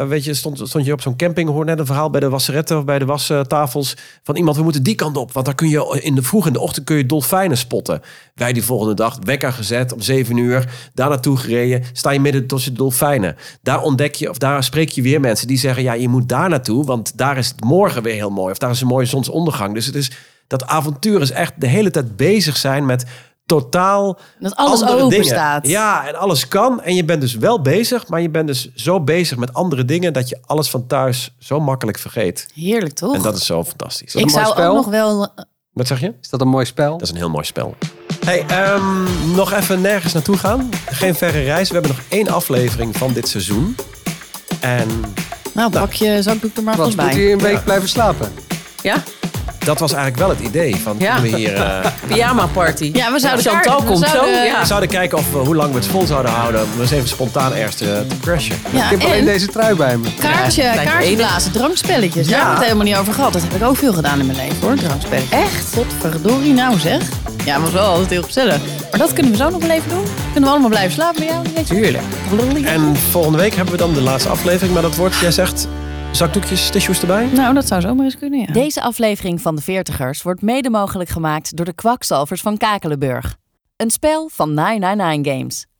eh, weet je, stond, stond je op zo'n camping. Hoor net een verhaal bij de wasseretten of bij de wastafels. Van iemand, we moeten die kant op. Want daar kun je in de vroeg in de ochtend kun je dolfijnen spotten. Wij die volgende dag wekker gezet om zeven uur. Daar naartoe gereden. Sta je midden tussen de dolfijnen. Daar ontdek je of daar spreek je weer mensen die zeggen... Ja, je moet daar naartoe. Want daar is het morgen weer heel mooi. Of daar is een mooie zonsondergang. Dus het is... Dat avontuur is echt de hele tijd bezig zijn met totaal
Dat alles
andere
open
dingen.
staat.
Ja, en alles kan. En je bent dus wel bezig, maar je bent dus zo bezig met andere dingen dat je alles van thuis zo makkelijk vergeet.
Heerlijk toch?
En dat is zo
ik
fantastisch.
een mooi
zou
spel.
ook nog wel...
Wat zeg je?
Is dat een mooi spel?
Dat is een heel mooi spel. Hey, ehm, nog even nergens naartoe gaan. Geen verre reis. We hebben nog één aflevering van dit seizoen. En
Nou, pak je zakdoek er maar
Want
vast
moet
bij.
hier een week blijven slapen?
Ja,
dat was eigenlijk wel het idee van
Ja.
toen we hier eh,
pyjama party.
Ja, we zouden
Chantal
daar- we
komt zo.
zouden-
we
Ja.
zouden kijken of we, hoe lang we het vol zouden houden. Om eens even spontaan ergens te, te crashen.
Ja,
Ik heb alleen
en-
deze trui bij me.
Kaartje,
Ja, lijkt me
kaartje
enig.
blazen, drankspelletjes. Daar hebben we het helemaal niet over gehad. Dat heb ik ook veel gedaan in mijn leven hoor, drankspelletjes. Echt? Godverdorie nou zeg. Ja, was wel altijd heel gezellig. Maar dat kunnen we zo nog wel even doen. Kunnen we allemaal blijven slapen bij jou? Tuurlijk.
En volgende week hebben we dan de laatste aflevering. Maar dat wordt, jij zegt, zakdoekjes, tissues erbij?
Nou, dat zou zomaar eens kunnen, ja.
Deze aflevering van de Veertigers wordt mede mogelijk gemaakt door de kwakzalvers van Kakelenburg. Een spel van 999 Games.